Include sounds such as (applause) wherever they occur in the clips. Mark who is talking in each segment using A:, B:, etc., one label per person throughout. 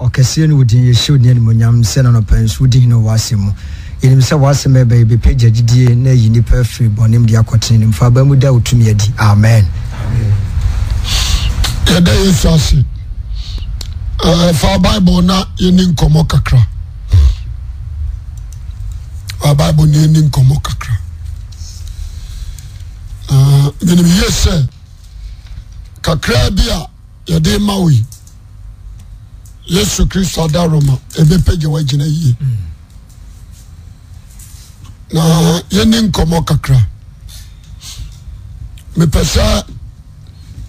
A: ɔkɛseɛ no wodin yɛhyɛ wodin animonyam sɛ nanɔpɛn so wodi hene wɔ w'asɛm mu yɛnim sɛ w'asɛm ɛbɛyɛ bɛpɛgya gyidie na ayi nnipa afiri bɔnem de akɔtene nim fa aba mu da wotumi adi amen
B: yɛda yesu ase Eh, fa bible na yɛni nkɔmmɔ kakra fa bible na yɛni nkɔmmɔ kakra Eh, menim ye sɛ kakra bi a yɛde ma wo yi yesu kristo ada roma ɛbɛpɛgya woagyina yie na yɛni nkɔmmɔ kakra mepɛ sɛ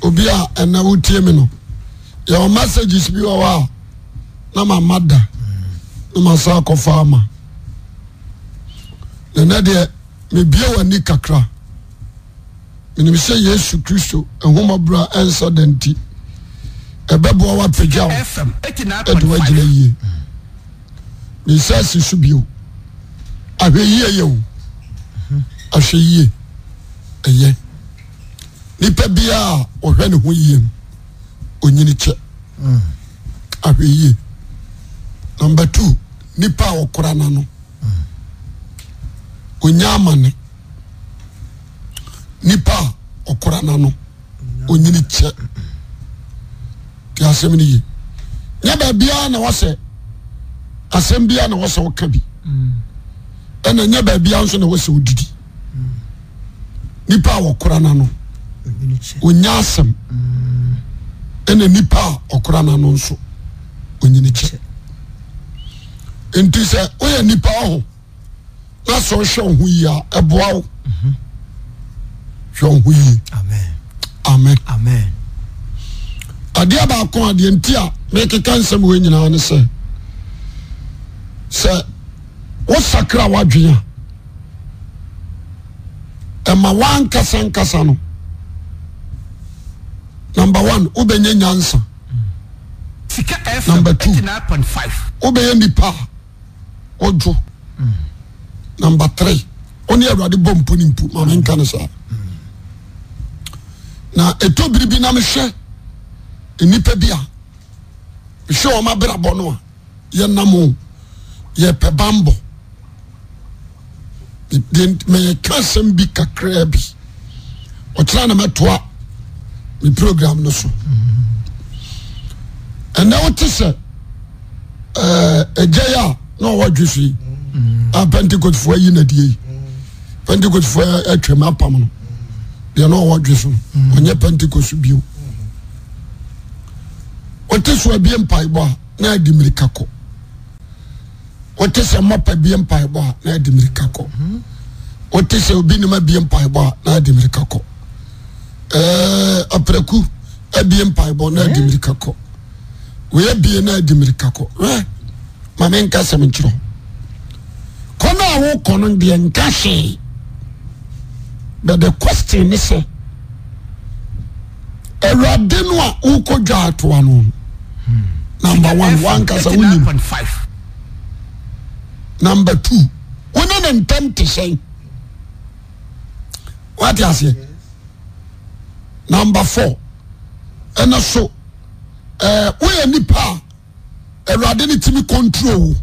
B: obi a ɛnɛ wotie me no yɛwɔ messages bi wɔ hɔ a na mama da na masa akɔfa ama nanɛ deɛ mebie w'ani kakra menim sɛ yesu kristo ahomabra ɛnsa da nti ɛbɛboa woapagya wo
C: FM
B: ɛde
C: 89.5
B: woagyina yie ne nsa si so bio ahwɛ yie yɛ wo ahwɛ yie ɛyɛ nipa biaa a ɔhwɛ ne ho yie no onyini kyɛ ahwɛ yie number two nipa a ɔkora na no onya amane nipa a ɔkora na no onyini kyɛ te asɛm no yie nyɛ baabiara na wɔsɛ asɛm biara na wɔsɛ woka bi ɛna nyɛ baabiara nso na wɔsɛ wodidi nipa a wɔkora na no onya asɛm ɛna nipa a ɔkora na no nso onyini kyɛ nti sɛ woyɛ nipa ho na sɛ wohwɛ wo ho yie a ɛboa wo hwɛ wo ho yie
A: amen
B: amen
A: amen
B: adeɛ baako adeɛ nti a mekeka nsɛm wei nyinaa ne sɛ sɛ wosakra woadwene a ɛma woankasa nkasa no number one wobɛnya nyansa
C: Sika FM
B: Number two.
C: 89.5
B: wobɛyɛ nipa a wodwo number three wo ne awurade bɔ mpo ne mpo ma menka no saa na ɛtɔ biri bi na E mehwɛ nnipa bi a mehwɛ ɔma brabɔ no a yɛnam o yɛpɛ bambɔ Deɛ nt- meyɛka asɛm bi kakraa bi ɔkyerɛ na mɛtoa me program no so ɛnɛ wote sɛ ɛgya yi a na ɔwɔ dwe so yi a pentecostfoɔ yi nadie yi pentecostfoɔ atwam apam no deɛ na ɔwɔ dwe so no, ɔnyɛ pentecost bio wɔte so abie mpaebɔ a na adi mmirika kɔ wɔte sɛ mmɔpa bie mpaebɔ a na adi mmirika kɔ wɔte sɛ obi nim abie mpaebɔ e a na adi Eh, mmirika kɔ ɛɛ apraku abie mpaebɔ e na adi mmirika kɔ wòye bie náà di mìíràn kọ ẹ maame nka sẹm nkyerọ kọ́nà àwọn kọ́nà deɛ nka hwee but the question ni sẹ ẹwurade no a wòkọ dwa atoa no number one wankasa wònyim
C: 89.5
B: number two wone ne ntɛm te hyɛn wate aseɛ number four ɛna so ɛɛ woyɛ nipa a awurade ne timi control wo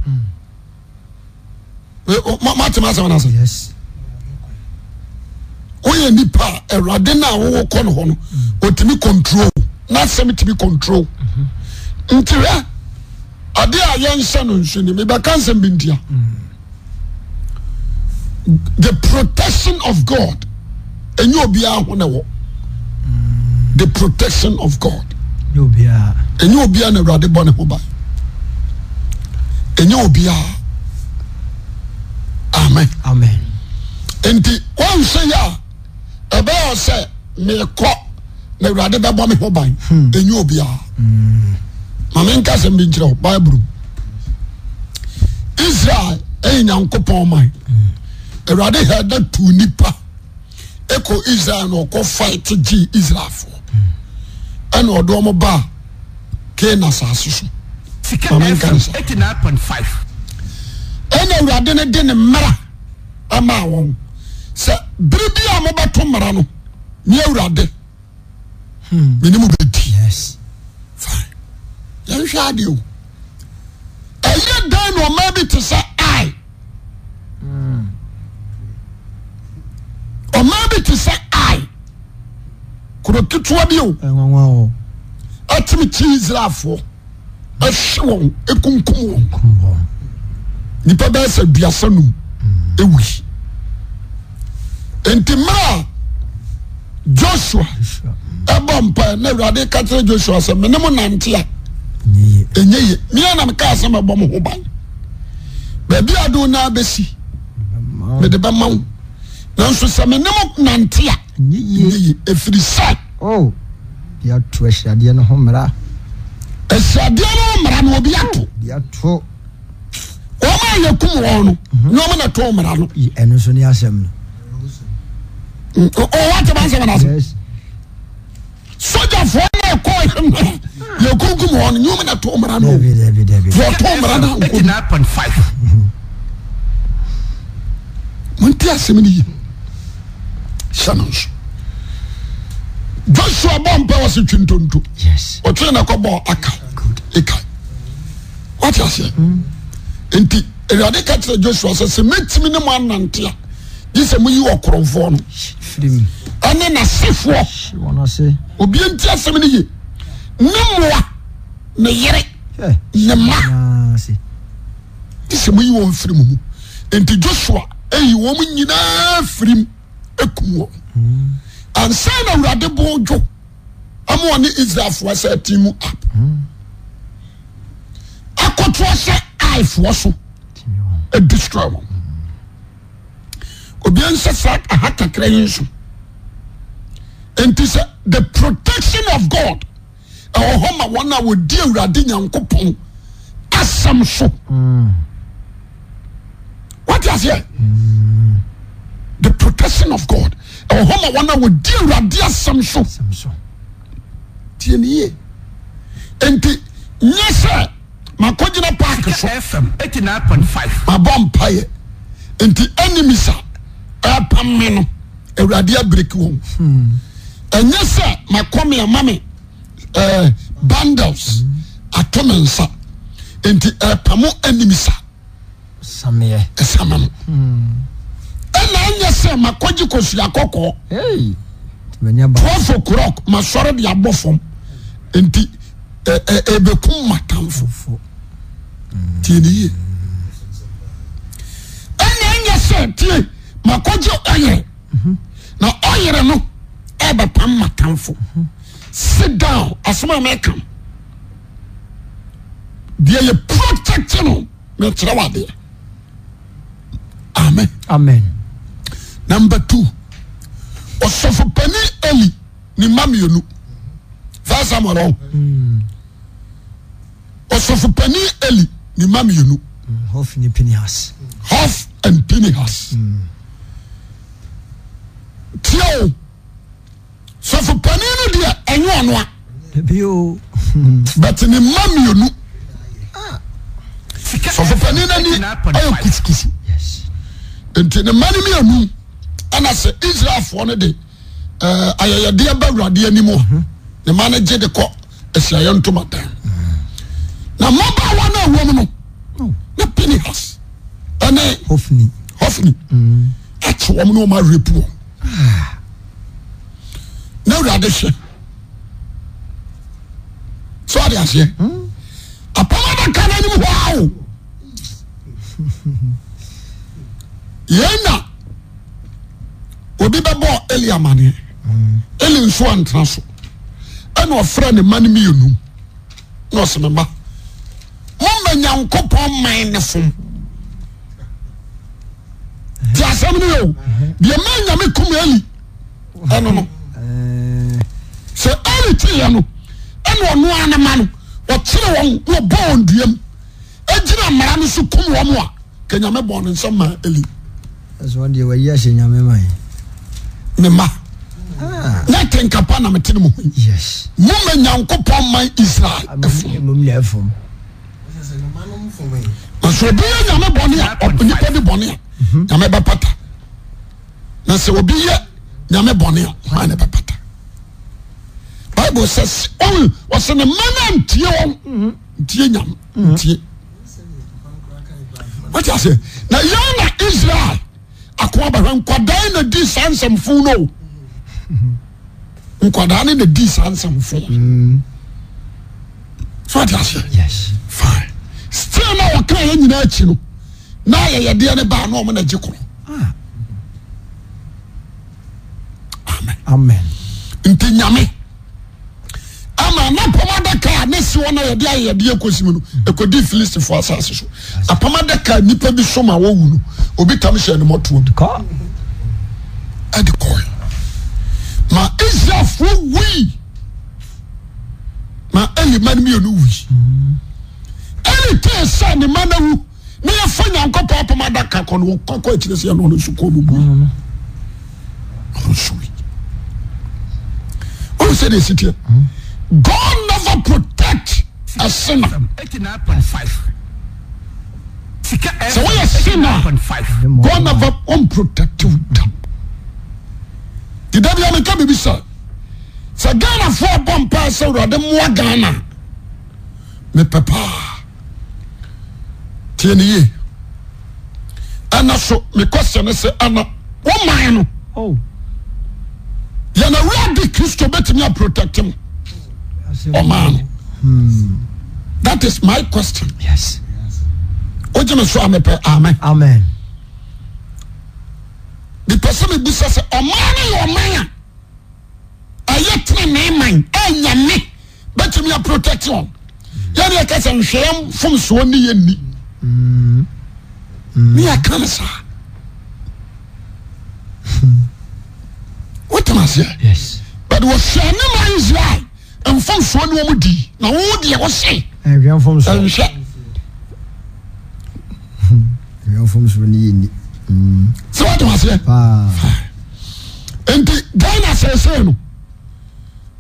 B: Wei, o- ma mate ma asɛm no ase
A: yes
B: woyɛ nipa a awurade no a wowɔ kɔ no hɔ no ɔtumi control wo. na asɛm tumi control wo. nti hwɛ ade a yɛnhyɛ no nso ni mebɛka nsɛm bi ntia the protection of god ɛnyɛ obiara ho ne wɔ the protection of god
A: ne obiara
B: ɛnyɛ obiara na awurade bɔ ne ho ban ɛnyɛ obiara amen
A: amen
B: nti wɔnhyɛ yɛ a ɛbɛyɛ sɛ meekɔ na awurade bɛbɔ me ho ban ɛnyɛ obiara ma menka sɛm bi nkyerɛ wo bible mu. israel ɛyɛ nyankopɔn man awurade hɛda tu nipa ɛkɔ israel na ɔkɔ fight gyee israelfoɔ ɛna ɔde ɔmo baa kana asase so
C: Sika
B: Maame nka
C: FM
B: ne saa.
C: 89.5
B: ɛna awurade no de ne mmara ama wɔn sɛ bere bi a mobɛto mmara no ne awurade menim bɛdi
A: yes
B: yɛnhwɛ adeɛ o na ɔma bi te sɛ ai ɔma bi te sɛ ai kuro ketewa bi o
A: ɛnwanwa wɔ
B: atimi kyi israelfoɔ ɛhye wɔn ekunkum wɔn
A: kumbɔ
B: nipa bɛyɛ sɛ duasa num ewi nti mmerɛ a joshua
A: Mm.
B: ɛbɔ mpa na awurade ka kyerɛ joshua sɛ mene mo nante a
A: nyeye
B: ɛnyɛ ye mea nam kaa sɛ mɛbɔ mo ho ban baabi a do naa bɛsi mede bɛma wo nanso sɛ mene mo nante a
A: nyeye
B: ɛnyɛ ye ɛfiri sɛ
A: o de ato ahyiadeɛ no ho mmara
B: ɛsradeɛ no mmara no obi ato
A: de ato
B: wɔma a yɛkum wɔn no na ɔma na ɛtɔ mmara no
A: yi- ɛno nso ne asɛm no
B: ɔwate ba nsɛm nase
A: Yes.
B: sogyafoɔ no ɛkɔ mmerɛ yɛkunkum wɔn no nyɛma na ɛtɔ mmara no
A: dabi dabi dabi
B: wɔtɔ mmara no anko
C: nine point five.
B: monti asɛm no yi hyɛ no nso joshua bɔ mpɛ wɔ se twi ntonto
A: yes
B: ɔtwee na kɔbɔɔ aka ɛka wate aseɛ enti awurade ka kyerɛ joshua sɛ sɛ mɛtumi ne mo anante a gye sɛ moyi wɔ korɔmfoɔ no
A: firi mu
B: ɛne nasefoɔ
A: hye wɔn ase
B: obia nti asɛm no ye ne mmoa ne yere
A: hɛ
B: ne mma
A: naa se
B: nti sɛ moyi wɔn firi mu mu enti joshua ayi wɔn mu nyinaa firim ekum wɔn ansa na awurade bo dwo ama wɔn ne israelfoɔ sɛ ti mu ap akotoɔ sɛ aifoɔ so
A: timi wɔn
B: edestroy wɔn obiara nhyɛ saa aha kakra yi nso nti sɛ the protection of god ɛwɔ hɔ ma wɔn a wɔdi awurade nyankopɔn asɛm so wate aseɛ the protection of god ɛwɔ hɔ ma wɔn a wɔdi awurade asɛm so
A: sɛm so
B: tie ne yie nti nyɛ sɛ makɔgyina park so
C: Sika FM eighty nine point five.
B: mabɔ mpaeɛ nti enemies a ɛpam me no awurade abiriki wɔn ɛnyɛ sɛ makɔme ama me ɛɛ bandles ato me nsa nti ɛpamo enemies a
A: sameɛ
B: ɛsama no ɛna anyɛ sɛ makɔgye kosua kɔkɔɔ
A: hey tibɛnya ba
B: twelve o'clock masɔre de abɔ fam nti eh, ɛ ɛ ɛbɛkum matamfo
A: fo
B: tie ne yie ɛna ɛnyɛ sɛ tie makɔgye ɔyere na ɔyere no ɛbɛpam matamfo sit down asɛm a meka no, deɛ yɛ protect no mekyerɛ wo adeɛ amen
A: amen
B: number two ɔsɔfopani eli ne mma mmienu faa samuel ɔn ɔsɔfopani eli ne mma mmienu
A: hof ne pinehas
B: half and pinehas tie o sɔfopani no deɛ ɛnyɛ ɔnoa
A: dabi o
B: but ne mma mmienu
C: Sika
B: sɔfopani no ani ayɛ kusukusu
A: yes
B: nti ne mma no mmienu ɛna sɛ israelfoɔ no de ɛɛ, ayɛyɛdeɛ ba awurade anim hɔ ne mma no gye de kɔ asiayɛ ntomadan na mmabaawa no awom no ne pinehas ɛne
A: hof ni
B: hofni akye wɔm ne ɔma repu wɔn na awurade hwɛ so ade aseɛ apam adaka no anim hɔ a o yɛn na obi bɛbɔɔ eli amanneɛ eli nso antena so ɛna ɔfrɛ ne ma no mmienu na ɔse me mma momma nyankopɔn man ne fom ti asɛm no yɛo deɛ ma nyame kum ali ɛno no
A: ɛɛ
B: sɛ ali teeɛ no ɛne ɔnoa no ma no wɔkyere wɔn na ɔbɔ wɔn duam agyina mmara no so kum wɔ mo a ka nyame bɔ ne nsɛm ma ali
A: ɛsɛ wɔn deɛ wɔyi ahyɛ nyame ma yɛ
B: ne ma
A: Ah,
B: na tenkapa na mete no mu hɔ
A: yes
B: moma nyankopɔn ma israel ɛfo
A: mmom na ɛfom
B: na sɛ obi yɛ nyame bɔne a ɔ- nipa de bɔne a nyame bɛpata na sɛ obi yɛ nyame bɔne a ɔma ne bɛpata bible sɛ s- ɔwe- ɔsɛ ne ma no antie wɔn ntie nyame ntie ase na yɛn na israel akoa bɛhwɛ nkwadaa na di saa nsɛmfo no o nkwadaa ne na di saa nsɛmfo so ate aseɛ
A: yes
B: fine still na wɔka yɛn nyinaa akyi no na yɛyɛdeɛ ne baa na ɔmo na gye korɔ
A: Ah.
B: amen
A: amen
B: nti nyame ama na apam adaka a ne si hɔ na yɛde ayɛdeɛ kɔsi mu no ɛkɔdi filistifoɔ asase so apam adaka a nnipa bi som a wɔwu no obi tam hyɛ ne mmɔtoɔ bi
A: kɔ
B: ɛde kɔe ma israelfoɔ wui ma ɛyɛ ma no mmienu wui ɛne tee sɛ ne ma no wu na yɛfa nyankopɔn apam adaka kɔ no wɔkɔkɔ akyirɛ sɛ ɛno ɔno nso kɔɔ no wui ɔno nso wui wohu sɛ de ɛsi teɛ god never protect a sinner
C: sɛ woyɛ sena
B: god never unprotect you da dida bia meka biribi sɛ sɛ ghanafoɔ bɔ mpaa sɛ awurade mmoa ghana a, mepɛ paa tiɛ ne yie ɛna so mekɔsɛ ne sɛ ana woman no
A: oh
B: yɛna awurade kristo bɛtumi aprotect mo ɔmaa no that is my question
A: yes
B: wogye me so a mepɛ amen
A: amen
B: mepɛ sɛ mebusa sɛ ɔman no yɛ ɔman a ɛyɛ tenene man Oh, ɛnyame bɛtumi aprotect on yɛne yɛka sɛ nhwɛɛ fomsoɔ ne yɛnni Mm. ne yɛka no saa wotam aseɛ
A: yes
B: but wɔhwɛ ne ma israel mfomsoɔ ne wɔ mu dii na wo deɛ wose
A: ɛnhwɛ mfom so
B: ɛnhwɛ
A: ɛnhwɛ mfom so ne yɛni
B: sɛ wotam aseɛ
A: paa
B: enti ghana sɛesɛe no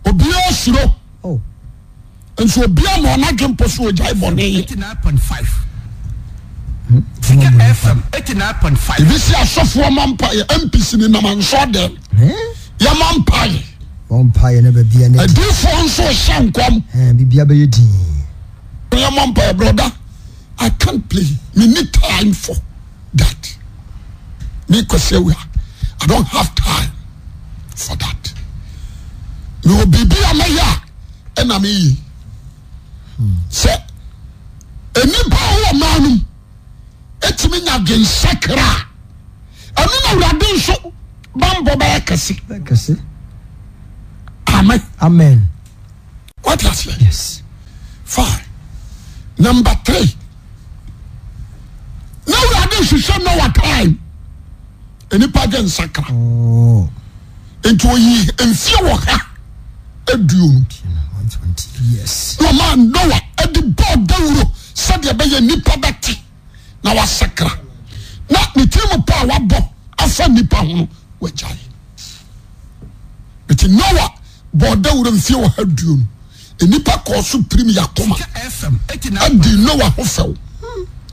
B: obiaa suro
A: oh
B: nso obiaa ma ɔnadwe mpo so ogyae bɔne yɛ
C: 89.5 sika fm 89.5
B: ebi si asɔfoɔ ma mpaeɛ mpc ni nam nsɔ dɛm
A: eh
B: yɛ ma mpaeɛ
A: wɔn mpaeɛ no baabia ne di
B: adiifoɔ nso hyɛ nkɔm
A: Eh, bibia bɛyɛ din
B: yɛ ma mpaeɛ broda i can't play me need time for that me kɔsɛ wia i don't have time for that me wɔ biribi a mɛyɛ a ɛna meyie sɛ enipa a wɔwɔ maa nom etumi nya dwensakra a ɛno na awurade nso bambɔ bɛyɛ kɛse
A: kɛse
B: amen
A: amen
B: wate aseɛ
A: yes
B: fine number three na wurade hwehwɛ na wa time nipa gye nsakra
A: oh
B: nti oyi mfie wɔ ha aduonu
A: tiɛ na 120 yes
B: na ɔma noa de bɔɔ dawuro sɛdeɛ bɛyɛ nipa bɛte na wasakra na ne tirim pa a wabɔ afa nipa ho no wagyae nti noa bɔɔ dawuro mfie wɔ ha aduonu nipa kɔɔ so pirim yakoma
C: sika fm
B: adi noa ho fɛw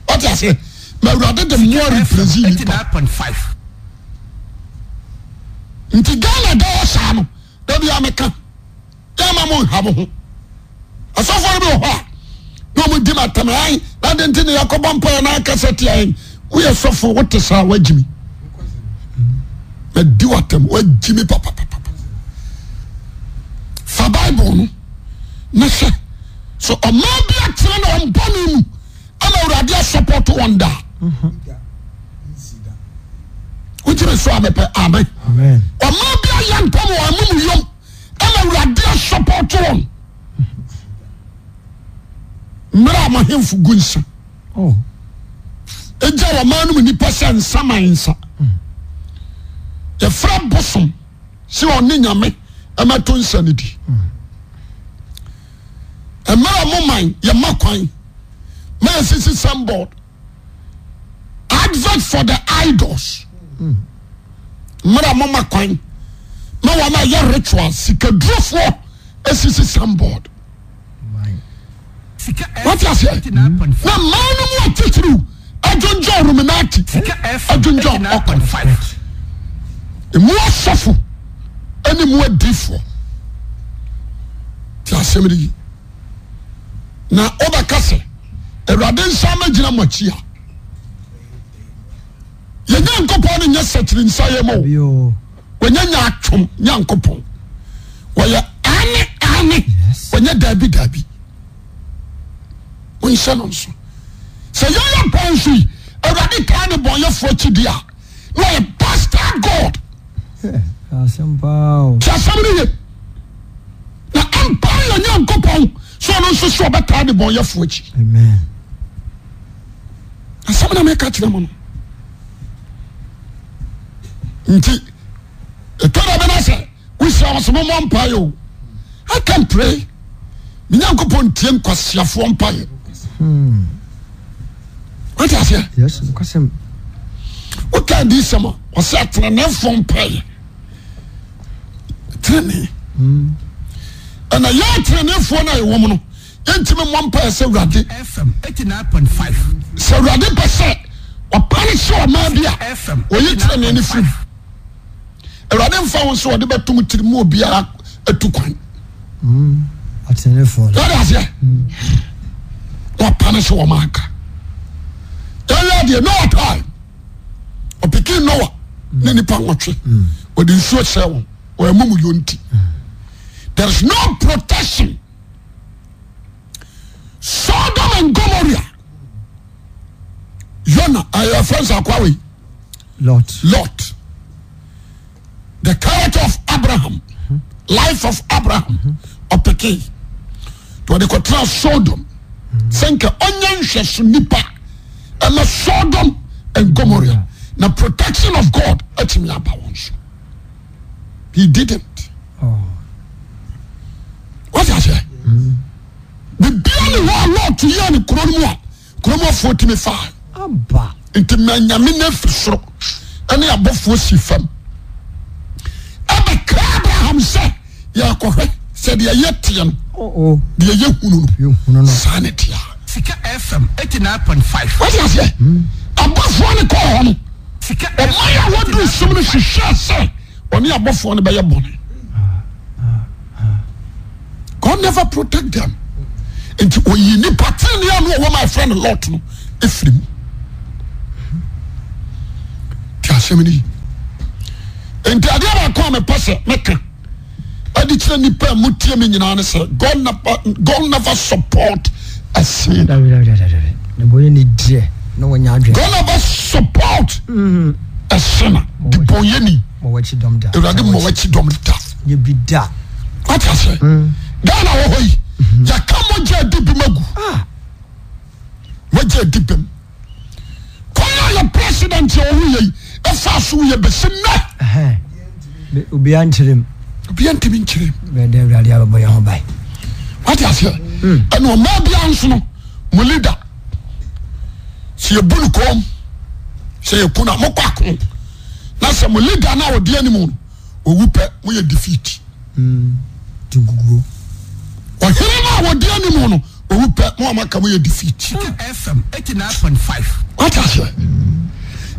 B: ɔte aseɛ ma awurade de mmoa represi nipa
C: 89.5
B: nti ghana da hɔ saa no da bia meka yɛma mo nha mo ho asɔfoɔ no bi wɔ hɔ a na ɔmodi m atam ae na de nti ne yɛkɔbɔ mpaɛ na akasɛ tiaɛ woyɛ sɔfo wote saa woagyimi madi watam woagyimi papapapa fa bible no na hwɛ so ɔma bi atena na ɔmbɔne mu ama awurade asɔpɔto wɔn daa wogyeme so a mepɛ amen
A: amen
B: ɔma bi ayɛ mpam wɔ amom yom ama awurade asɔpɔto wɔn mmerɛ a mahemfo gu nsa
A: oh
B: ɛgya wɔma no mu nnipa sɛ nsa ma nsa yɛfrɛ bosom sɛ ɔne nyame ɛmɛto nsa no di mmerɛ a moman yɛma kwan ma yɛsisi sambord advert for the idols mmerɛ a moma kwan ma wɔma yɛ ritual sikadurofoɔ asisi sambord
A: my
C: sika
B: What you say? na
C: fm
B: mmaa no mu atitiriw adwongyɔ ruminati adwongyɔ ɔkɔn
C: 89.5
B: mu asɔfo ɛne mu adiifoɔ te asɛm de yi na wobɛka sɛ awurade nsa ma gyina mo akyi a nyɛ sɛkyiri nsayɛ ma o
A: Yo.
B: wɔnyɛ nya atwom nyankopɔn wɔyɛ ane ane
A: Yes.
B: wɔnyɛ daabi daabi wonhyɛ no nso sɛ yɛyɛ bɔn so yi awurade taa ne bɔnyɛfoɔ kyidi a na ɔyɛ bastard god
A: Yeah, asɛm paa o.
B: tí a sẹ́mi ni yẹ na empire yẹn yẹn nkó pọ̀ so ọ̀nà nso so ọbẹ̀ taa de bọ̀ yẹ fún ẹkyí
A: amen.
B: asẹ́mi náà mi ka kyerẹ́ mu no nti ètò ìdàbẹ̀ náà sẹ wísí àwọn sọmọ mọ empire o I can pray mi yẹn nkó pọ̀ ntiẹ̀ nkwasiafo empire wọ́n ti àṣẹ
A: yes nkwasɛm.
B: wọ́n ká di sẹ́m a ọ̀sẹ̀ àtẹnanẹ́fọ̀ empire tẹ́lẹ̀ ẹ̀nà yẹ́ àtẹnanẹ́fọ̀ náà yẹ wọ́n mu no yẹn ti mi mọ empire sẹ́ wíwádìí.
C: FM 89.5
B: sɛ awurade pɛ sɛ ɔpane hyɛ ɔma bi a
C: FM
B: oyi kyerɛ ne ani firi mu. awurade mfa ho sɛ ɔde bɛtom tiri mu obiara atu kwan
A: atenefoɔ no.
B: wade aseɛ na ɔpane hyɛ ɔma aka ɛyɛ deɛ noa tae ɔpiki noa ne nipa nwɔtwe ɔde nsuo hyɛ wɔn ɔyɛ mu yonti there is no protection sodom and gomorrah yona ɛyɛ friends akwawei
A: lot.
B: Lot. The character of Abraham. Life of Abraham. Ɔpeke. To wɔde kɔtena Sodom. Sɛ nka ɔnyɛ nhwɛso nipa ɛma Sodom and Gomorrah. Na protection of God ɛtumi aba wɔn so. He didn't.
A: Oh.
B: Wɔte aseɛ. Bibia ne hɔ a Lot yɛ ne kuro no mu a kuro mu afoɔ tumi faa.
A: aba.
B: nti ma nyame no afiri soro ɛne abɔfoɔ si fam ɛbɛkra abraham sɛ yɛakɔhwɛ sɛ deɛ yɛ teɛ no
A: ɔɔ
B: deɛ yɛ hunu
A: yɛ hunu
B: no
A: oh. no.
B: saa ne teɛ a.
C: Sika FM 89.5
B: wate aseɛ abɔfoɔ no kɔɔ hɔ no
C: Sika
B: ɔma yɛ wɔduru som no hwehwɛ sɛ ɔne abɔfoɔ no bɛyɛ bɔne god never protect them nti ɔyi nipa tenea no ɔwɔ ma ɛfrɛ no lot no ɛfiri mu nti asɛm no yi nti adeɛ baako a mepɛ sɛ meka ade kyerɛ nnipa a motie me nyinaa ne sɛ god never, god never support a sin
A: dabidabidabidabi. ne bɔ yɛ ne deɛ na wɔnyɛ adwene.
B: god never support a sinner debɔyɛni
A: ma wɔakyi dɔm da.
B: awurade mma wakyi dɔm da
A: Nyɛ bi da.
B: wate ase ghana wɔ hɔ yi yɛka mogya adi bem agu
A: Ah.
B: mogya adi bem kwan a yɛ president yɛ ɔwoyɛ yi ɛfa so woyɛ bɛsɛ nɛ
A: ɛhɛn. Me- obiara nkyerɛm.
B: obia ntimi nkyerɛ
A: bɛɛ dɛ awurade abɛbɔ yɛn ho ban.
B: wate aseɛ ɛne ɔma bia nso no mo leader sɛ yɛbu no kom sɛ yɛku no a mokɔ ako na sɛ mo leader no a ɔdeɛ no mu no ɔwu pɛ moyɛ defeat
A: tu guguo.
B: ɔhene no a wɔdeɛ no mu no ɔwu pɛ mo amaka moyɛ defeat
C: Sika FM 89.5
B: wate aseɛ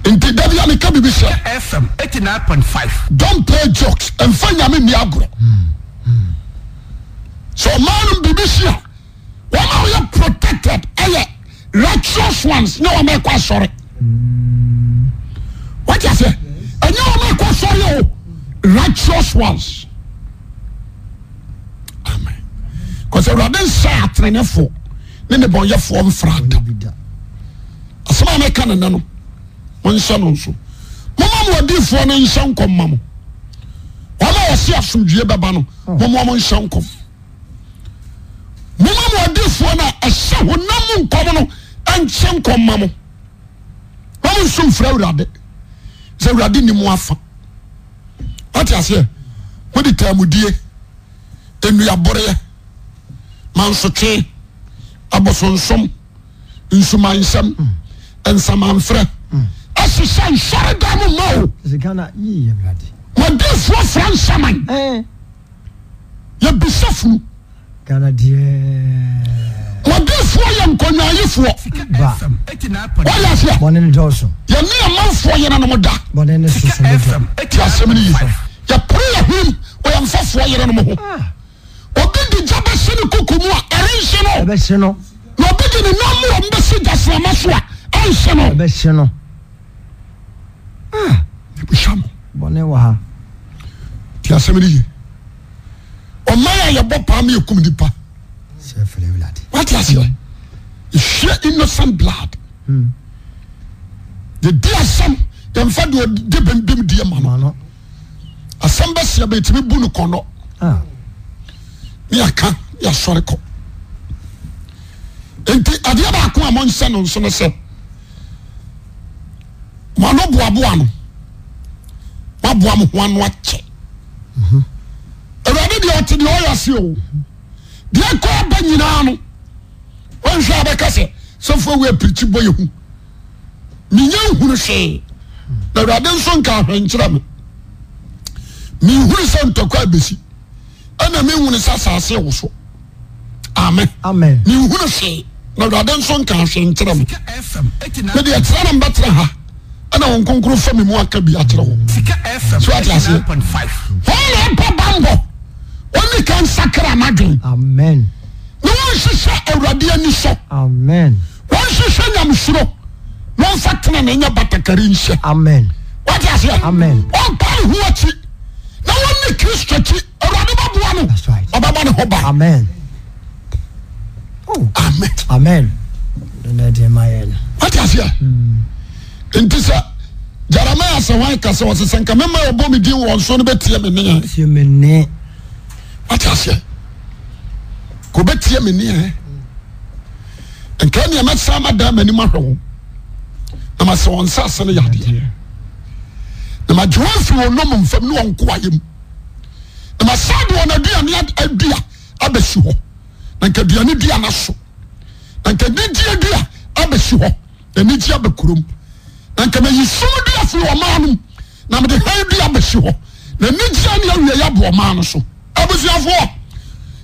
B: nti da bia meka biribi sɛ
C: FM 89.5
B: don play jokes ɛmfa nyame nni agorɔ sɛ ɔma no biribi si a wɔma woyɛ protected ɛyɛ righteous ones ne wɔma ɛkɔ asɔre wate aseɛ ɛnyɛ wɔma ɛkɔ asɔre o oh. righteous ones amen kɔsɛ awurade nsɛ atenenefoɔ ne ne bɔnyɛfoɔ mfra adam
A: nyɛ bi da.
B: asɛm a mɛka ne nɛ no monhyɛ no nso moma mo adiifoɔ no nhyɛ nkɔm ma mo wɔma wɔse asomdwie bɛba no momoa mo nhyɛ nkɔm moma mo adiifoɔ no a ɛhyɛ honam mu nkɔm no ɛnhyɛ nkɔm ma mo ma mo nso mfira awurade sɛ awurade ni mo afa ate aseɛ mode taamudie nnuaboreɛ mansotwee abosonsom nsumansɛm nsamanfrɛ ɛhyehyɛ nsɔre da mo ma o
A: sika na yie awurade.
B: mɔdefoɔ fra nsaman
A: ɛn.
B: yɛbisa funu
A: ghana eh. deɛ.
B: mɔdefoɔ yɛ nkɔnwaayefoɔ
C: Sika
A: Ba.
C: FM 89.5
B: wɔyɛ aseɛ
A: bɔne ne dɔɔso.
B: yɛne amanfoɔ yɛna no mo da
A: bɔne ne soso ne
C: FM
A: dɔ.
B: ti asɛm no yi
C: 89.5
B: yɛpere yɛ hom wɔyɛ mfafoɔ yɛna no mo ho
A: Ah,
B: obi de gya bɛhyɛ ne koko mu a ɛrenhye no
A: ɛbɛhye E no.
B: na obi de ne nam
A: E
B: wɔ mbɛsi gyasrama so a ɛnhyɛ no
A: ɛbɛhye no.
B: ebusa mu
A: bɔne wɔ ha
B: ti asɛm ni yi ɔman a yɛbɔ paa mi yɛ kum nipa
A: sɛ fɛrɛ wulade
B: wati aseɛ ehyia innocent blood yɛdi asɛm yɛnfa deɛ ɔde bɛnbɛm die ma no
A: ma no
B: asɛm bɛsia bɛ yɛtumi bu no kɔnɔ
A: Ah,
B: ne yɛka ne yɛasɔre kɔ nti adeɛ baako a mɔnsɛ no nso no sɛ mo ano boaboa no moaboa mo ho ano akyɛ awurade deɛ ɔte deɛ ɔyɛ aseɛ o deɛ kɔ aba nyinaa no wɔnhwɛ a bɛka sɛ sɛfoɔ wei apirikyi bɔ yɛ hu menya nhunu hwee na awurade nso nka ahwɛnkyerɛ me menhunu sɛ ntɔkwa abɛsi ɛna menhunu sɛ asase wo so amen
A: amen
B: menhunu hwee na awurade nso nka ahwɛnkyerɛ me
C: Sika FM 89.5.
B: mede ɛtena na mbɛtena ha ɛna wo nkonkro fa me mu aka bi akyerɛ wo
C: Sika FM
B: So what you are saying?
C: 89.5.
B: wɔn na ɛbɔ bambɔ wɔne ka nsakra n'adwene
A: amen
B: na wɔnhyehyɛ awurade ani so
A: amen
B: wɔnhyehyɛ nyamesuro na ɔmfa tena na ɛnyɛ batakari nhyɛ
A: amen
B: wate aseɛ
A: Amen.
B: ɔmpa ne ho akyi na wɔne kristo akyi awurade bɛboa no
A: That's right.
B: ɔbɛbɔ ne ho ba
A: amen Oh,
B: amen
A: amen ɛnɛ deɛ ma yɛ no
B: wate aseɛ nti sɛ jeremia sɛ wan ka sɛ wɔse sɛ nka mema yɛbɔ me din wɔ nso no bɛtie me nea
A: sie me nne
B: wate aseɛ kò bɛ tie mi nìyɛn nkira nìyɛn mɛ sá ma dan m'anim ahwɛ wɔn na ma sɛ wɔn nsa ase no yadeɛ na ma gye wɔn fi wɔn nom nfam ne wɔn nko ayɛ mu na ma sá de wɔn aduane ad- adua abɛsi hɔ na nka aduane dua n'aso na nka anigyeɛ dua abɛsi hɔ na anigyeɛ abɛ kurom na nka ma yi sum dua fi wɔn maa nom na ma de hann dua abɛsi hɔ na anigyeɛ ne awie yɛ abɔ ɔman no so abusuafoɔ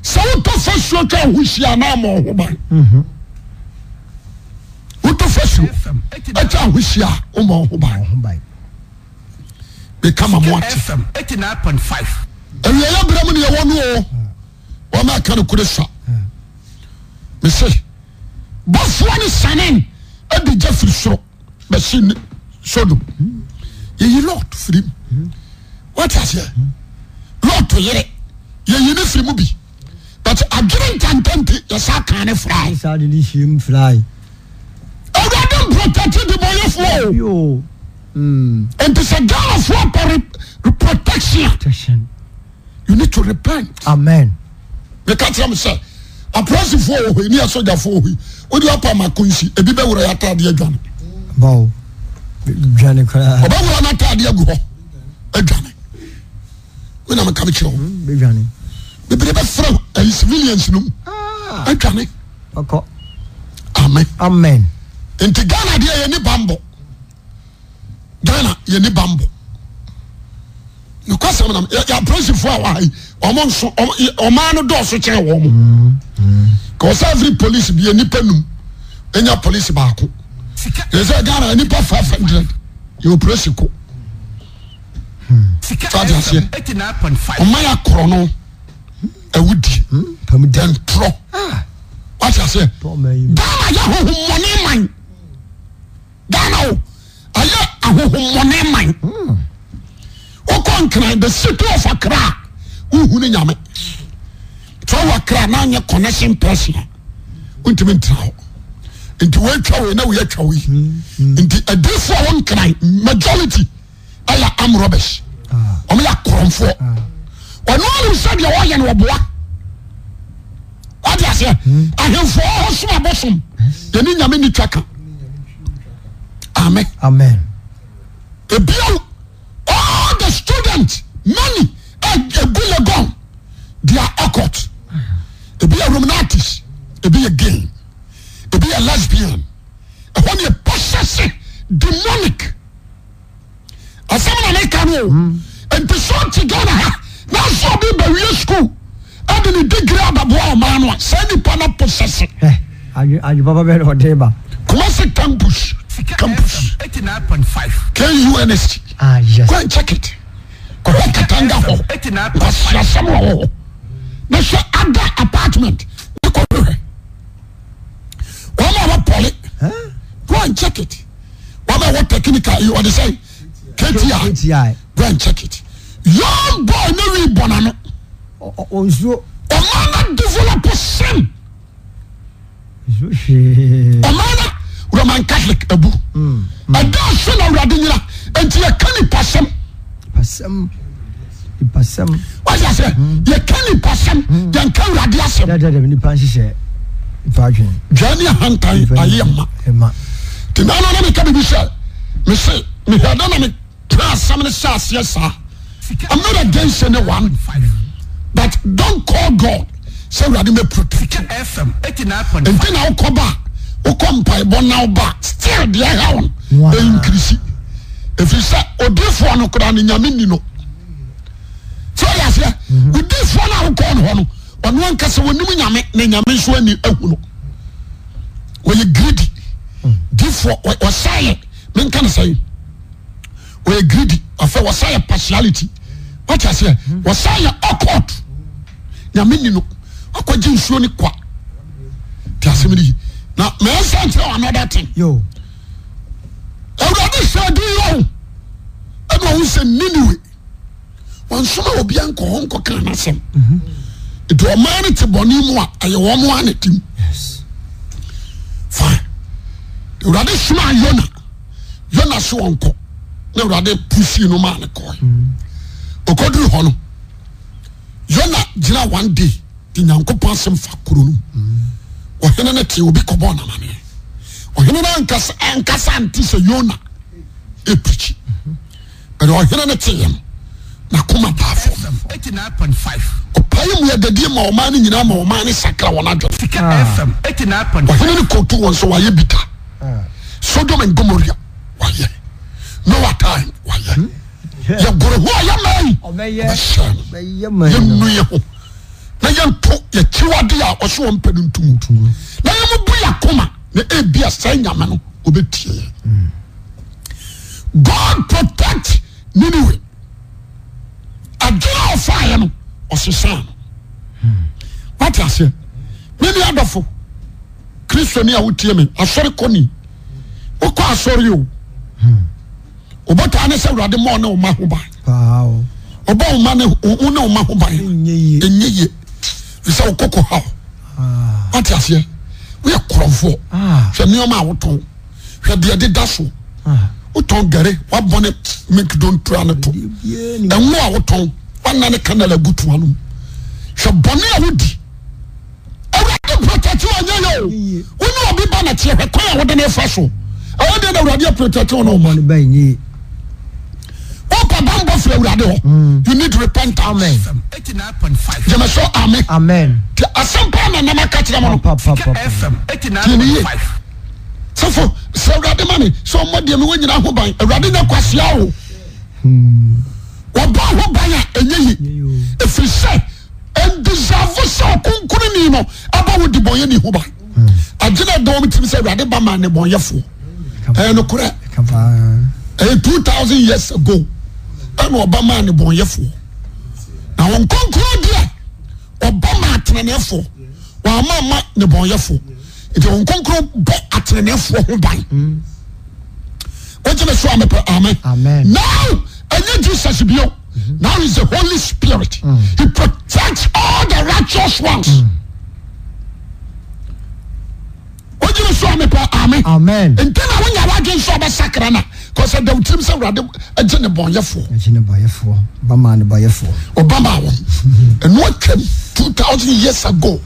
B: sɛ wotɔ fasuo twa ho hyia na ama ɔho ban wotɔ fasuo
C: FM 89.5.
B: atwa ho hyia a woma ɔho ban
A: ho bae
B: meka ma mo ate
C: FM 89.5.
B: awieyɛ berɛ mu ne yɛwɔ no o wɔma aka no kore sa mese bɔfoɔ ne sanen ade gya firi soro bɛhye ne sodom yɛyi lot firi mu wate aseɛ lot yere yɛyi ne firi mu bi but adwene ntantante yɛsa kaa ne frae
A: saa de ne hyiam frae
B: awurade mprotɛkte de bɔyɛfoɔ
A: yo Mm,
B: o nti sɛ ghanafoɔ pɛ re- re- protection a,
A: protection
B: you need to repent
A: amen
B: meka kyerɛ me sɛ apresifoɔ wɔ hɔ yi ne asogyafoɔ wɔ hɔ yi wode wapa ma konsi ebi bɛwura yɛ ataadeɛ adwane
A: bao dwane koraa
B: ɔbɛwura no ataadeɛ agu hɔ adwane mena meka me kyerɛ wo
A: bɛdwane
B: bebere bɛfrɛ wo, ayi civilians no mu adwane
A: ɔkɔ
B: amen
A: amen
B: nti ghana deɛ yɛni bambɔ ghana yɛni bambɔ nokwasɛm nam yɛapresifoɔ a wahayi ɔmo nso ɔmo- yɛ- ɔmaa no dɔɔso kyɛn wɔ mo ka ɔsɛ afiri police bi nipa num ɛnya police baako
C: Sika
B: yɛ sɛ ghana nipa 500 yɛwɔ polisi ko
C: Sika
B: So what you are
C: FM
B: saying?
C: 89.5.
B: ɔma yɛ akorɔ no awudie
A: pam da
B: dɛntorɔ wate aseɛ
A: tɔma yi
B: ghana yɛ ahohommɔne man ghana o ayɛ ahohommɔne man wokɔ nkran the city of akra a wohunu nyame tɛ wɔ akra na anyɛ connection person a wontumi ntena hɔ nti woatwa wei na woyɛatwa wei nti adifoɔ a wo nkran majority ɛyɛ am robish
A: Ah.
B: ɔmo yɛ akorɔmfoɔ ɔno anim sɛdeɛ wɔyɛ no wɔboa wade aseɛ ahemfo ɔhɔ som abosom yɛne nyame ni twa ka amen
A: amen
B: ebiawo all the eh, student money egu legon they are occult ebi yɛ romanatics ebi yɛ gay ebi yɛ lesbian ɛhɔ ne yɛ possessive demonic asɛm na meka no o nti so te ghana ha na so ɔde bɛwie school ɛde ne degree ababoa ɔmaa no a saa nipa no possessive
A: hɛ adwe adwe Eh, papa bɛ na ɔde ba
B: kumasi campus
C: Sika
B: campus
C: FM 89.5.
B: kunst
A: ah yes
B: go and check it kɔhwɛ katanga hɔ
C: 89.5.
B: pasiasɛm wɔ hɔ na hwɛ ada apartment ne kɔhwehwɛ wɔma wɔpɔle go and check it wɔma wɔ technical yi ɔde sɛ eti a
A: eti
B: go and check it young boy no wi bɔna no
A: a nsuo
B: ɔman na develop sin
A: nsuo hwee
B: ɔman na roman catholic abu ɛda so na awurade nyina nti yɛka nipa sɛm
A: pasɛm nipasɛm
B: wayɛ sɛ yɛka nipa sɛm yɛnka awurade asɛm
A: dadadam nipa nhyehyɛ nipa adwene
B: dwane ahantan
A: Nipa nhyehyɛ.
B: ayɛ ma
A: ɛma
B: nti nana na meka biribi sɛ mese mehwɛ da na meka asɛm no hyɛ aseɛ saa I'm not against anyone. but don't call god sɛ awurade mɛprotect nti na wokɔ ba wokɔ mpaebɔ na woba still deɛ ɛha wo no
A: Wow.
B: ɛnkirisi ɛfiri sɛ odifoɔ no koraa ne nyame ni no sɛ ɔyɛ aseɛ odifoɔ no a wokɔɔ no hɔ no ɔno ankasa wɔnim nyame ne nyame nso ani ahu no wɔyɛ greedy difoɔ wɔ- wɔsaeɛ menka no sɛe wɔyɛ greedy afɛ wɔsaeɛ partiality wɔte aseɛ wɔsaeɛ occult nyame ni no akɔgye nsuo ne kwa ti asɛm ni yi na mɛ nsa nkyerɛ wɔn another thing
A: yo
B: awurade sɛ di yɔ o ɛna ɔwɔ sɛ niniwe wɔnsoma obi ankɔ hɔ nkɔ kan n'asɛm etu ɔman no te bɔnne mu a ɛyɛ wɔn mu ana tim
A: yes
B: fine awurade soma yona yona so wɔn kɔ na awurade pusi no maa ne kɔɛ okɔduru hɔ no yona gyina one day di nyankopɔn asɛm fa kuro no ɔhene no te obi kɔbɔɔ namaneɛ ɔhene no ankasa ankasa nte sɛ yona ɛpirikyi bɛde ɔhene no teɛ no nakoma daa fam ɔpae mu yɛdadie ma ɔma no nyinaa ma ɔma ne sakra wɔn adwene ɔhene no kɔtu wɔn so wayɛ bita
A: Ah.
B: sodom and gomorrah wayɛ noa time wayɛ yɛgore ho a yɛmai
A: Ɔbɛyɛ.
B: bɛhyɛ no
A: bɛyɛ ma
B: yɛnu yɛ ho na yɛnto yɛkyiwade a ɔso wɔ mpɛ no ntom na yɛmubu yɛakoma na ebia sɛe nyame no obɛtie yɛ god protect niniwe adwene a ɔfaeɛ no ɔsesaa no wate aseɛ mene adɔfo kristoni a wotie me asɔre kɔni wokɔ asɔre o wobɔtaa ne sɛ awurade ma ɔne wo ma ho ban
A: paa o
B: ɔbɔ wo ma ne wo ne wo ma ho ban
A: nye yie
B: ɛnyɛ yie fisɛ wokɔkɔ haw
A: aa
B: wate aseɛ woyɛ korɔmfoɔ
A: Ah.
B: hwɛ nneɔma a wotɔn hwɛ deɛ deda so
A: ah
B: wotɔn gare woabɔne menkdontura no to
A: ebie ni
B: ɛwo a wotɔn woana ne kanal agutoa no mu hwɛ bɔne a wodi awurade protɛkte anyɛ yɛ o
A: Nye yie.
B: wone ɔbi ba nakyeɛ hwɛ kwan a wode ne fa so ɛwɔ deɛ na awurade aprotɛkte wo no
A: ɔmo
B: ɔma
A: ni ba nye yie
B: wopa bambɔ firi awurade
A: Mm.
B: hɔ you need repentance gyeme so ame
A: Ah. amen
B: nti asɛm pa na nam aka kyerɛ mo no
A: papa papa
B: sɛfo sɛ awurade ma me sɛ ɔmmɔ deɛ mewɔ nyina ho ban awurade nya kwasea o wɔba ho ban a ɛnyɛ
A: Ɛnyɛ
B: yi
A: yie o.
B: ɛfiri sɛ ɛndesavo sɛ ɔkonkoro ni no aba wo debɔnyɛ ne ho ban agyena ɛda wɔ metimi sɛ awurade ba ma nnebɔnyɛfoɔ ɛyɛ nokorɛ
A: ka paa
B: ɛyɛ 2000 Eh, years ago ɛna ɔba maa nnebɔnyɛfoɔ na wɔn nkonkoro deɛ ɔba ma atenaneɛfoɔ wɔama ma nnebɔnyɛfoɔ nti wɔn nkonkoro bɔ atenaneɛfoɔ ho ban wogyeme so a mepɛ amen
A: Amen.
B: now ɛnyɛ jesus bio now is the holy spirit he protects all the righteous ones wogyeme so a mepɛ amen
A: amen
B: nti na wonya wadwen sɛ ɔbɛsakra no kɔsɛ dawtirim sɛ wurade agye ne bɔnyɛfoɔ
A: ɛkyi ne bayɛfoɔ bama ne bayɛfoɔ
B: ɔba ma wo ɛno atwam 2000 years ago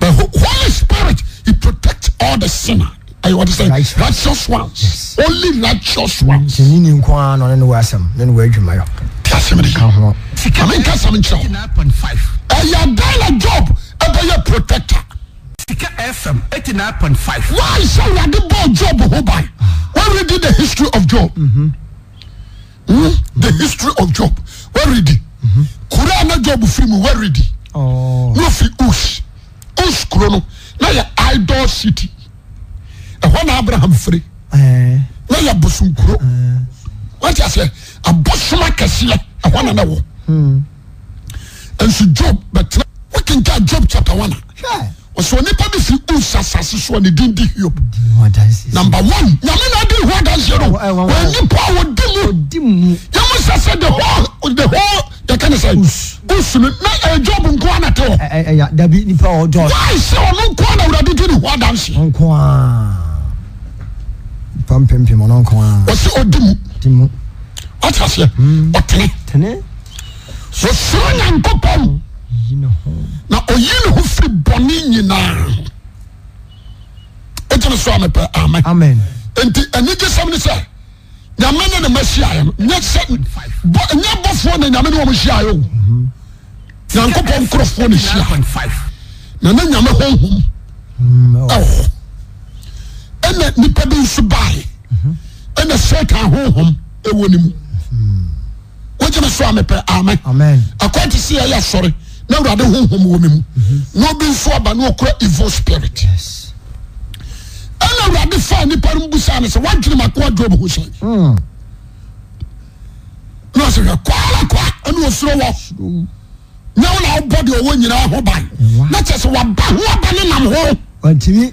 B: the Ho- holy spirit he protect all the sinner ɛyɛ wɔde
A: Righteous.
B: sɛ righteous ones only righteous ones
A: kyɛni ni nko ara na ɔne ne wɔ asɛm ne ne wɔ adwumayɔ
B: te asɛm de
A: ka ho
B: amenka sɛm nkyerɛ wo ɛyɛ dan na job ɛbɛyɛ protector why sɛ wurade bɔɔ job ho ban wɔn redi the history of job Hmm? the history of job wɔn redi kura na job firi mu wɔn redi
A: ɔɔ
B: na ofi us us kuro no na yɛ idol city ɛhɔ na abraham firi
A: ɛɛ
B: na yɛ bosonkuro wɔte aseɛ abosoma kɛseɛ ɛhɔ na na wɔ nso job bɛtena wɔkenka job chapter one a
A: hwɛ
B: ɔsɛ onipa bi fi us asase so a ne din de hiob
A: ɔdi
B: number one nyame na adi ho adanseɛ no
A: Ɛwɔ- ɛwɔ- ɛwɔ.
B: onipa a wɔdi mu
A: mu
B: yɛmu sɛ sɛ the whole the whole yɛka ne sɛ
A: Us.
B: us no na ɛyɛ job nko ana te hɔ
A: ɛ- ɛ- ɛyà dabi nipa ɔdɔ
B: why sɛ ɔno nko ana awurade di ne ho adanseɛ
A: nko aa nipa mpempem ɔno nko aa
B: ɔsɛ ɔdi mu
A: di mu
B: ɔte aseɛ ɔtene
A: tene
B: ɔsoro nyankopɔn
A: yi ne ho
B: na ɔyi ne ho firi bɔne nyinaa ɛgyene so a mepɛ amen
A: amen
B: nti anigye sɛm ne sɛ nyame ne ne ma hyiaeɛ no nyɛ sɛ bɔ- nyɛ bɔfoɔ ne nyame ne wɔm hyiaeɛ o nyankopɔn nkurɔfoɔ ne hyia na ne nyame honhom
A: Mm, ɛwɔ
B: ɛwɔ ɛna nnipa bi nso bae ɛna satan honhom ɛwɔ ne e mu wogyeme so a mepɛ amen
A: amen
B: akwate sɛ yɛyɛ asɔre na awurade honhom wɔ me mu na obi nso aba ne ɔkora evil spirit
A: yes
B: ɛna awurade faa nnipa no mu busaa ne sɛ woadwene mako adwob ho sɛn
A: Mm,
B: na ɔsɛ hwɛ kwala kwa ɛne ɔsuro wɔ na wo na wobɔ deɛ ɔwɔ nyinaa ho ban
A: Wow.
B: na kyɛ sɛ waba ho aba ne nam ho
A: ɔntumi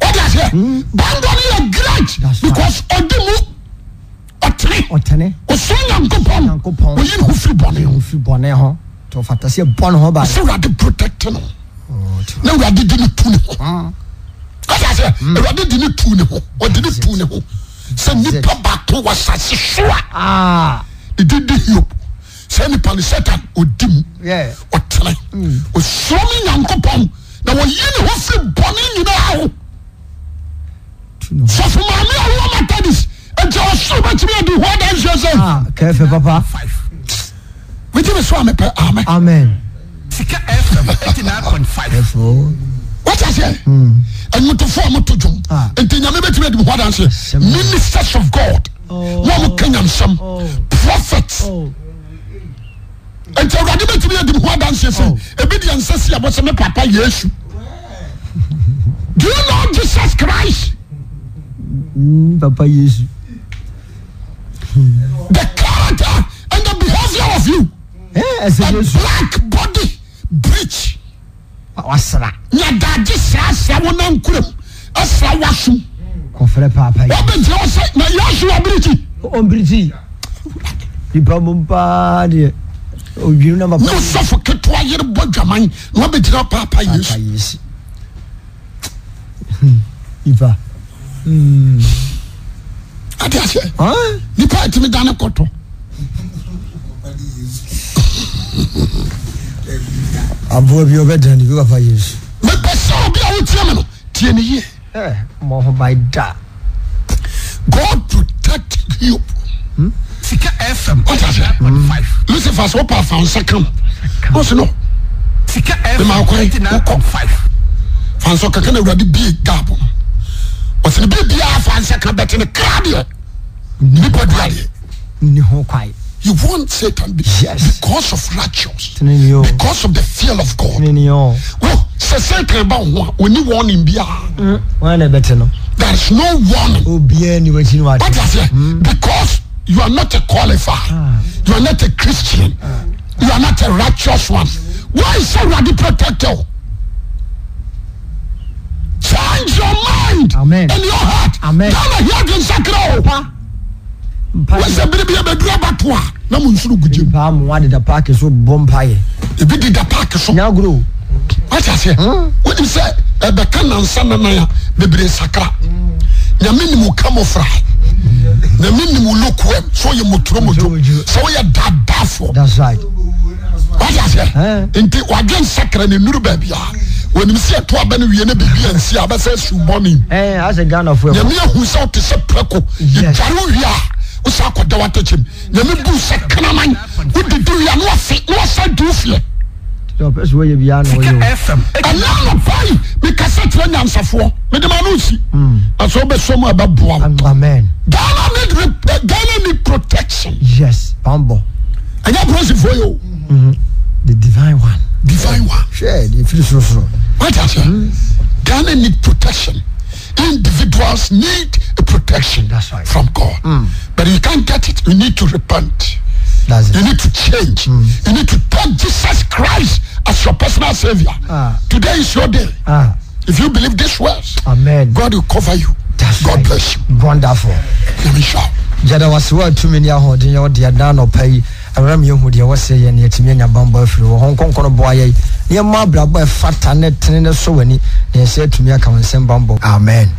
B: wode aseɛ bandɔ no yɛ
A: Hmm.
B: great
A: That's right.
B: because ɔde mu ɔtene
A: ɔtene
B: ɔsoro nyankopɔn
A: Nyankopɔn.
B: ɔyi ne ho firi bɔne ho
A: ofi bɔne ho tɔ fatase bɔne ho ba
B: sɛ wurade protect no
A: ɔtumi
B: na wurade de ne tu ne ho ɔde aseɛ awurade de ne tu ne ho ɔde ne tu ne ho sɛ
A: Hmm. That's it.
B: nnipa baako wɔ sase so a
A: aa
B: ne din de hiob sɛ nnipa no satan ɔdi mu
A: yɛ
B: ɔtene
A: Hmm.
B: ɔsoro me nyankopɔn na wɔyi ne ho firi bɔne nyinaa ho
A: tu no ho
B: sɔfo maame a wowɔ matadis ɛnti ɔsoro bɛtumi adi ho adansuɛ sɛ
A: aa kɛfɛ papa
B: metumi so a mepɛ amɛ
A: amen Oh. ɛfo
B: wote aseɛ ɛnwotofoɔ a moto dwom
A: Hmm. Ah.
B: enti nyame bɛtumi adi ho adanseɛ
A: Sɛm.
B: ministers of god
A: Oh.
B: na moka nyamsɛm
A: Oh.
B: prophets nti awurade bɛtumi adi ho adanseɛ
A: Oh.
B: sɛ ebi deɛ nsa si abɔ sɛ me papa
A: (laughs)
B: yesu do you know jesus christ
A: Mm, papa yesu
B: the character and the behavior of you
A: ɛ ɛsɛ
B: a
A: yesu
B: black body breach
A: wasra
B: nyadaagye saa saa wo na nkuram ɛsra wasom
A: kɔfrɛ paapa yi
B: wabɛgyina wɔ sɛ na yaso wabirikyi
A: Oh, ɔmbiriti nipa mu paa deɛ odwiri na
B: ne
A: papa
B: ɔsɔfo ketewa yere bɔ dwaman na wabɛgyina paapa
A: papa
B: yesu
A: yesu Hmm. nipa
B: ade aseɛ
A: ɔn
B: nipa atumi dane kɔtɔ
A: aboa bi ɔbɛdan ne bi papa yesu
B: mepɛ sɛ obi a wotia me no tie ne yie
A: ɛ mɔ ho ban da
B: god protect you ɔde aseɛ
C: Mm.
B: lucifer sɛ wopɛ afansa kam ɔse no fansa kaka na awurade bie gabo no ɔsene biribiaa afansa ka bɛte ne kra deɛ nipa duadeɛ
A: nni ho kwae
B: you want satan be
A: Yes.
B: because of righteous
A: tene ne o
B: because of the fear of God.
A: tene ne o
B: Well, sɛ satan ba ho a wɔni warning biara
A: wɔn na ɛbɛte no
B: there is no warning.
A: obiara e ni wɔn akyi ni wɔn
B: What
A: ati
B: is it? Because you are not a qualified,
A: Hmm? Ah.
B: you are not a Christian, you are not a righteous one. Why is Awurade protect you? Change your mind
A: Amen.
B: and your heart.
A: Amen.
B: Dana hiɛ dun sakira o.
A: mpa
B: Wɔn sɛ biribi abɛduru abato a na mo nsoro gu
A: yɛ
B: gyem.
A: paa mu adeda paaki so bɔ mpa yɛ
B: Ebi deda paaki so.
A: nyagoro
B: wati aseɛ wonim sɛ ɛbɛka nansa nanan a bebree sakra nyame nim wo kamofra nyame nim wo lokuam sɛ woyɛ motoromodwo
A: Motoromodwo.
B: sɛ woyɛ dadaafoɔ
A: that's right
B: wati aseɛ
A: Ɛn.
B: nti wadwe nsakra ne nuru baabia wɔnim sɛ ɛto aba no wie no biribia nsi a bɛsɛ asubɔne
A: ɛ asɛ Eh, ghana fo ɛkɔ
B: nyame ahu sɛ wote sɛ prako
A: Yes.
B: yɛdware wo wie a wosa akɔda watakyɛm nyame bu sɛ kraman wodidi wie a ne wafe ne wasa du fiɛ
A: tɛ ɔpɛ so wɔyɛ biara na wɔyɛ o
B: ɛna anɔpai mekasa kyerɛ nyansafoɔ mede ma no osi na sɛ wobɛsɔ mu a ɛbɛboa wo
A: Am- amen
B: ghana need rep- eh, ghana need protection
A: yes bambɔ
B: ɛnyɛ apolisifoɔ yɛ o
A: the divine one
B: divine wa
A: hwɛ de efiri sorosoro
B: watasɛ ghana need protection individuals need a protection
A: That's right.
B: from god but you can't get it you need to repent
A: that's
B: you
A: it
B: need to change you need to take jesus christ as your personal savior.
A: Ah.
B: Today is your day.
A: ah
B: If you believe these words,
A: amen
B: God will cover you.
A: That's
B: God
A: right.
B: bless you.
A: wonderful
B: Let me shout.
A: gyada wase wo atumi ne ahoɔden yɛ wode ada nɔpa yi awura meɛhu deɛ wɔsɛ yɛ ne atumi anya bambɔ afiri wɔ hɔ nkɔnkɔ no boa yɛi ne ɛma abrabɔ a ɛfata ne tene ne sɔ w'ani ne ɛsɛ atumi aka wo nsɛm bambɔ amen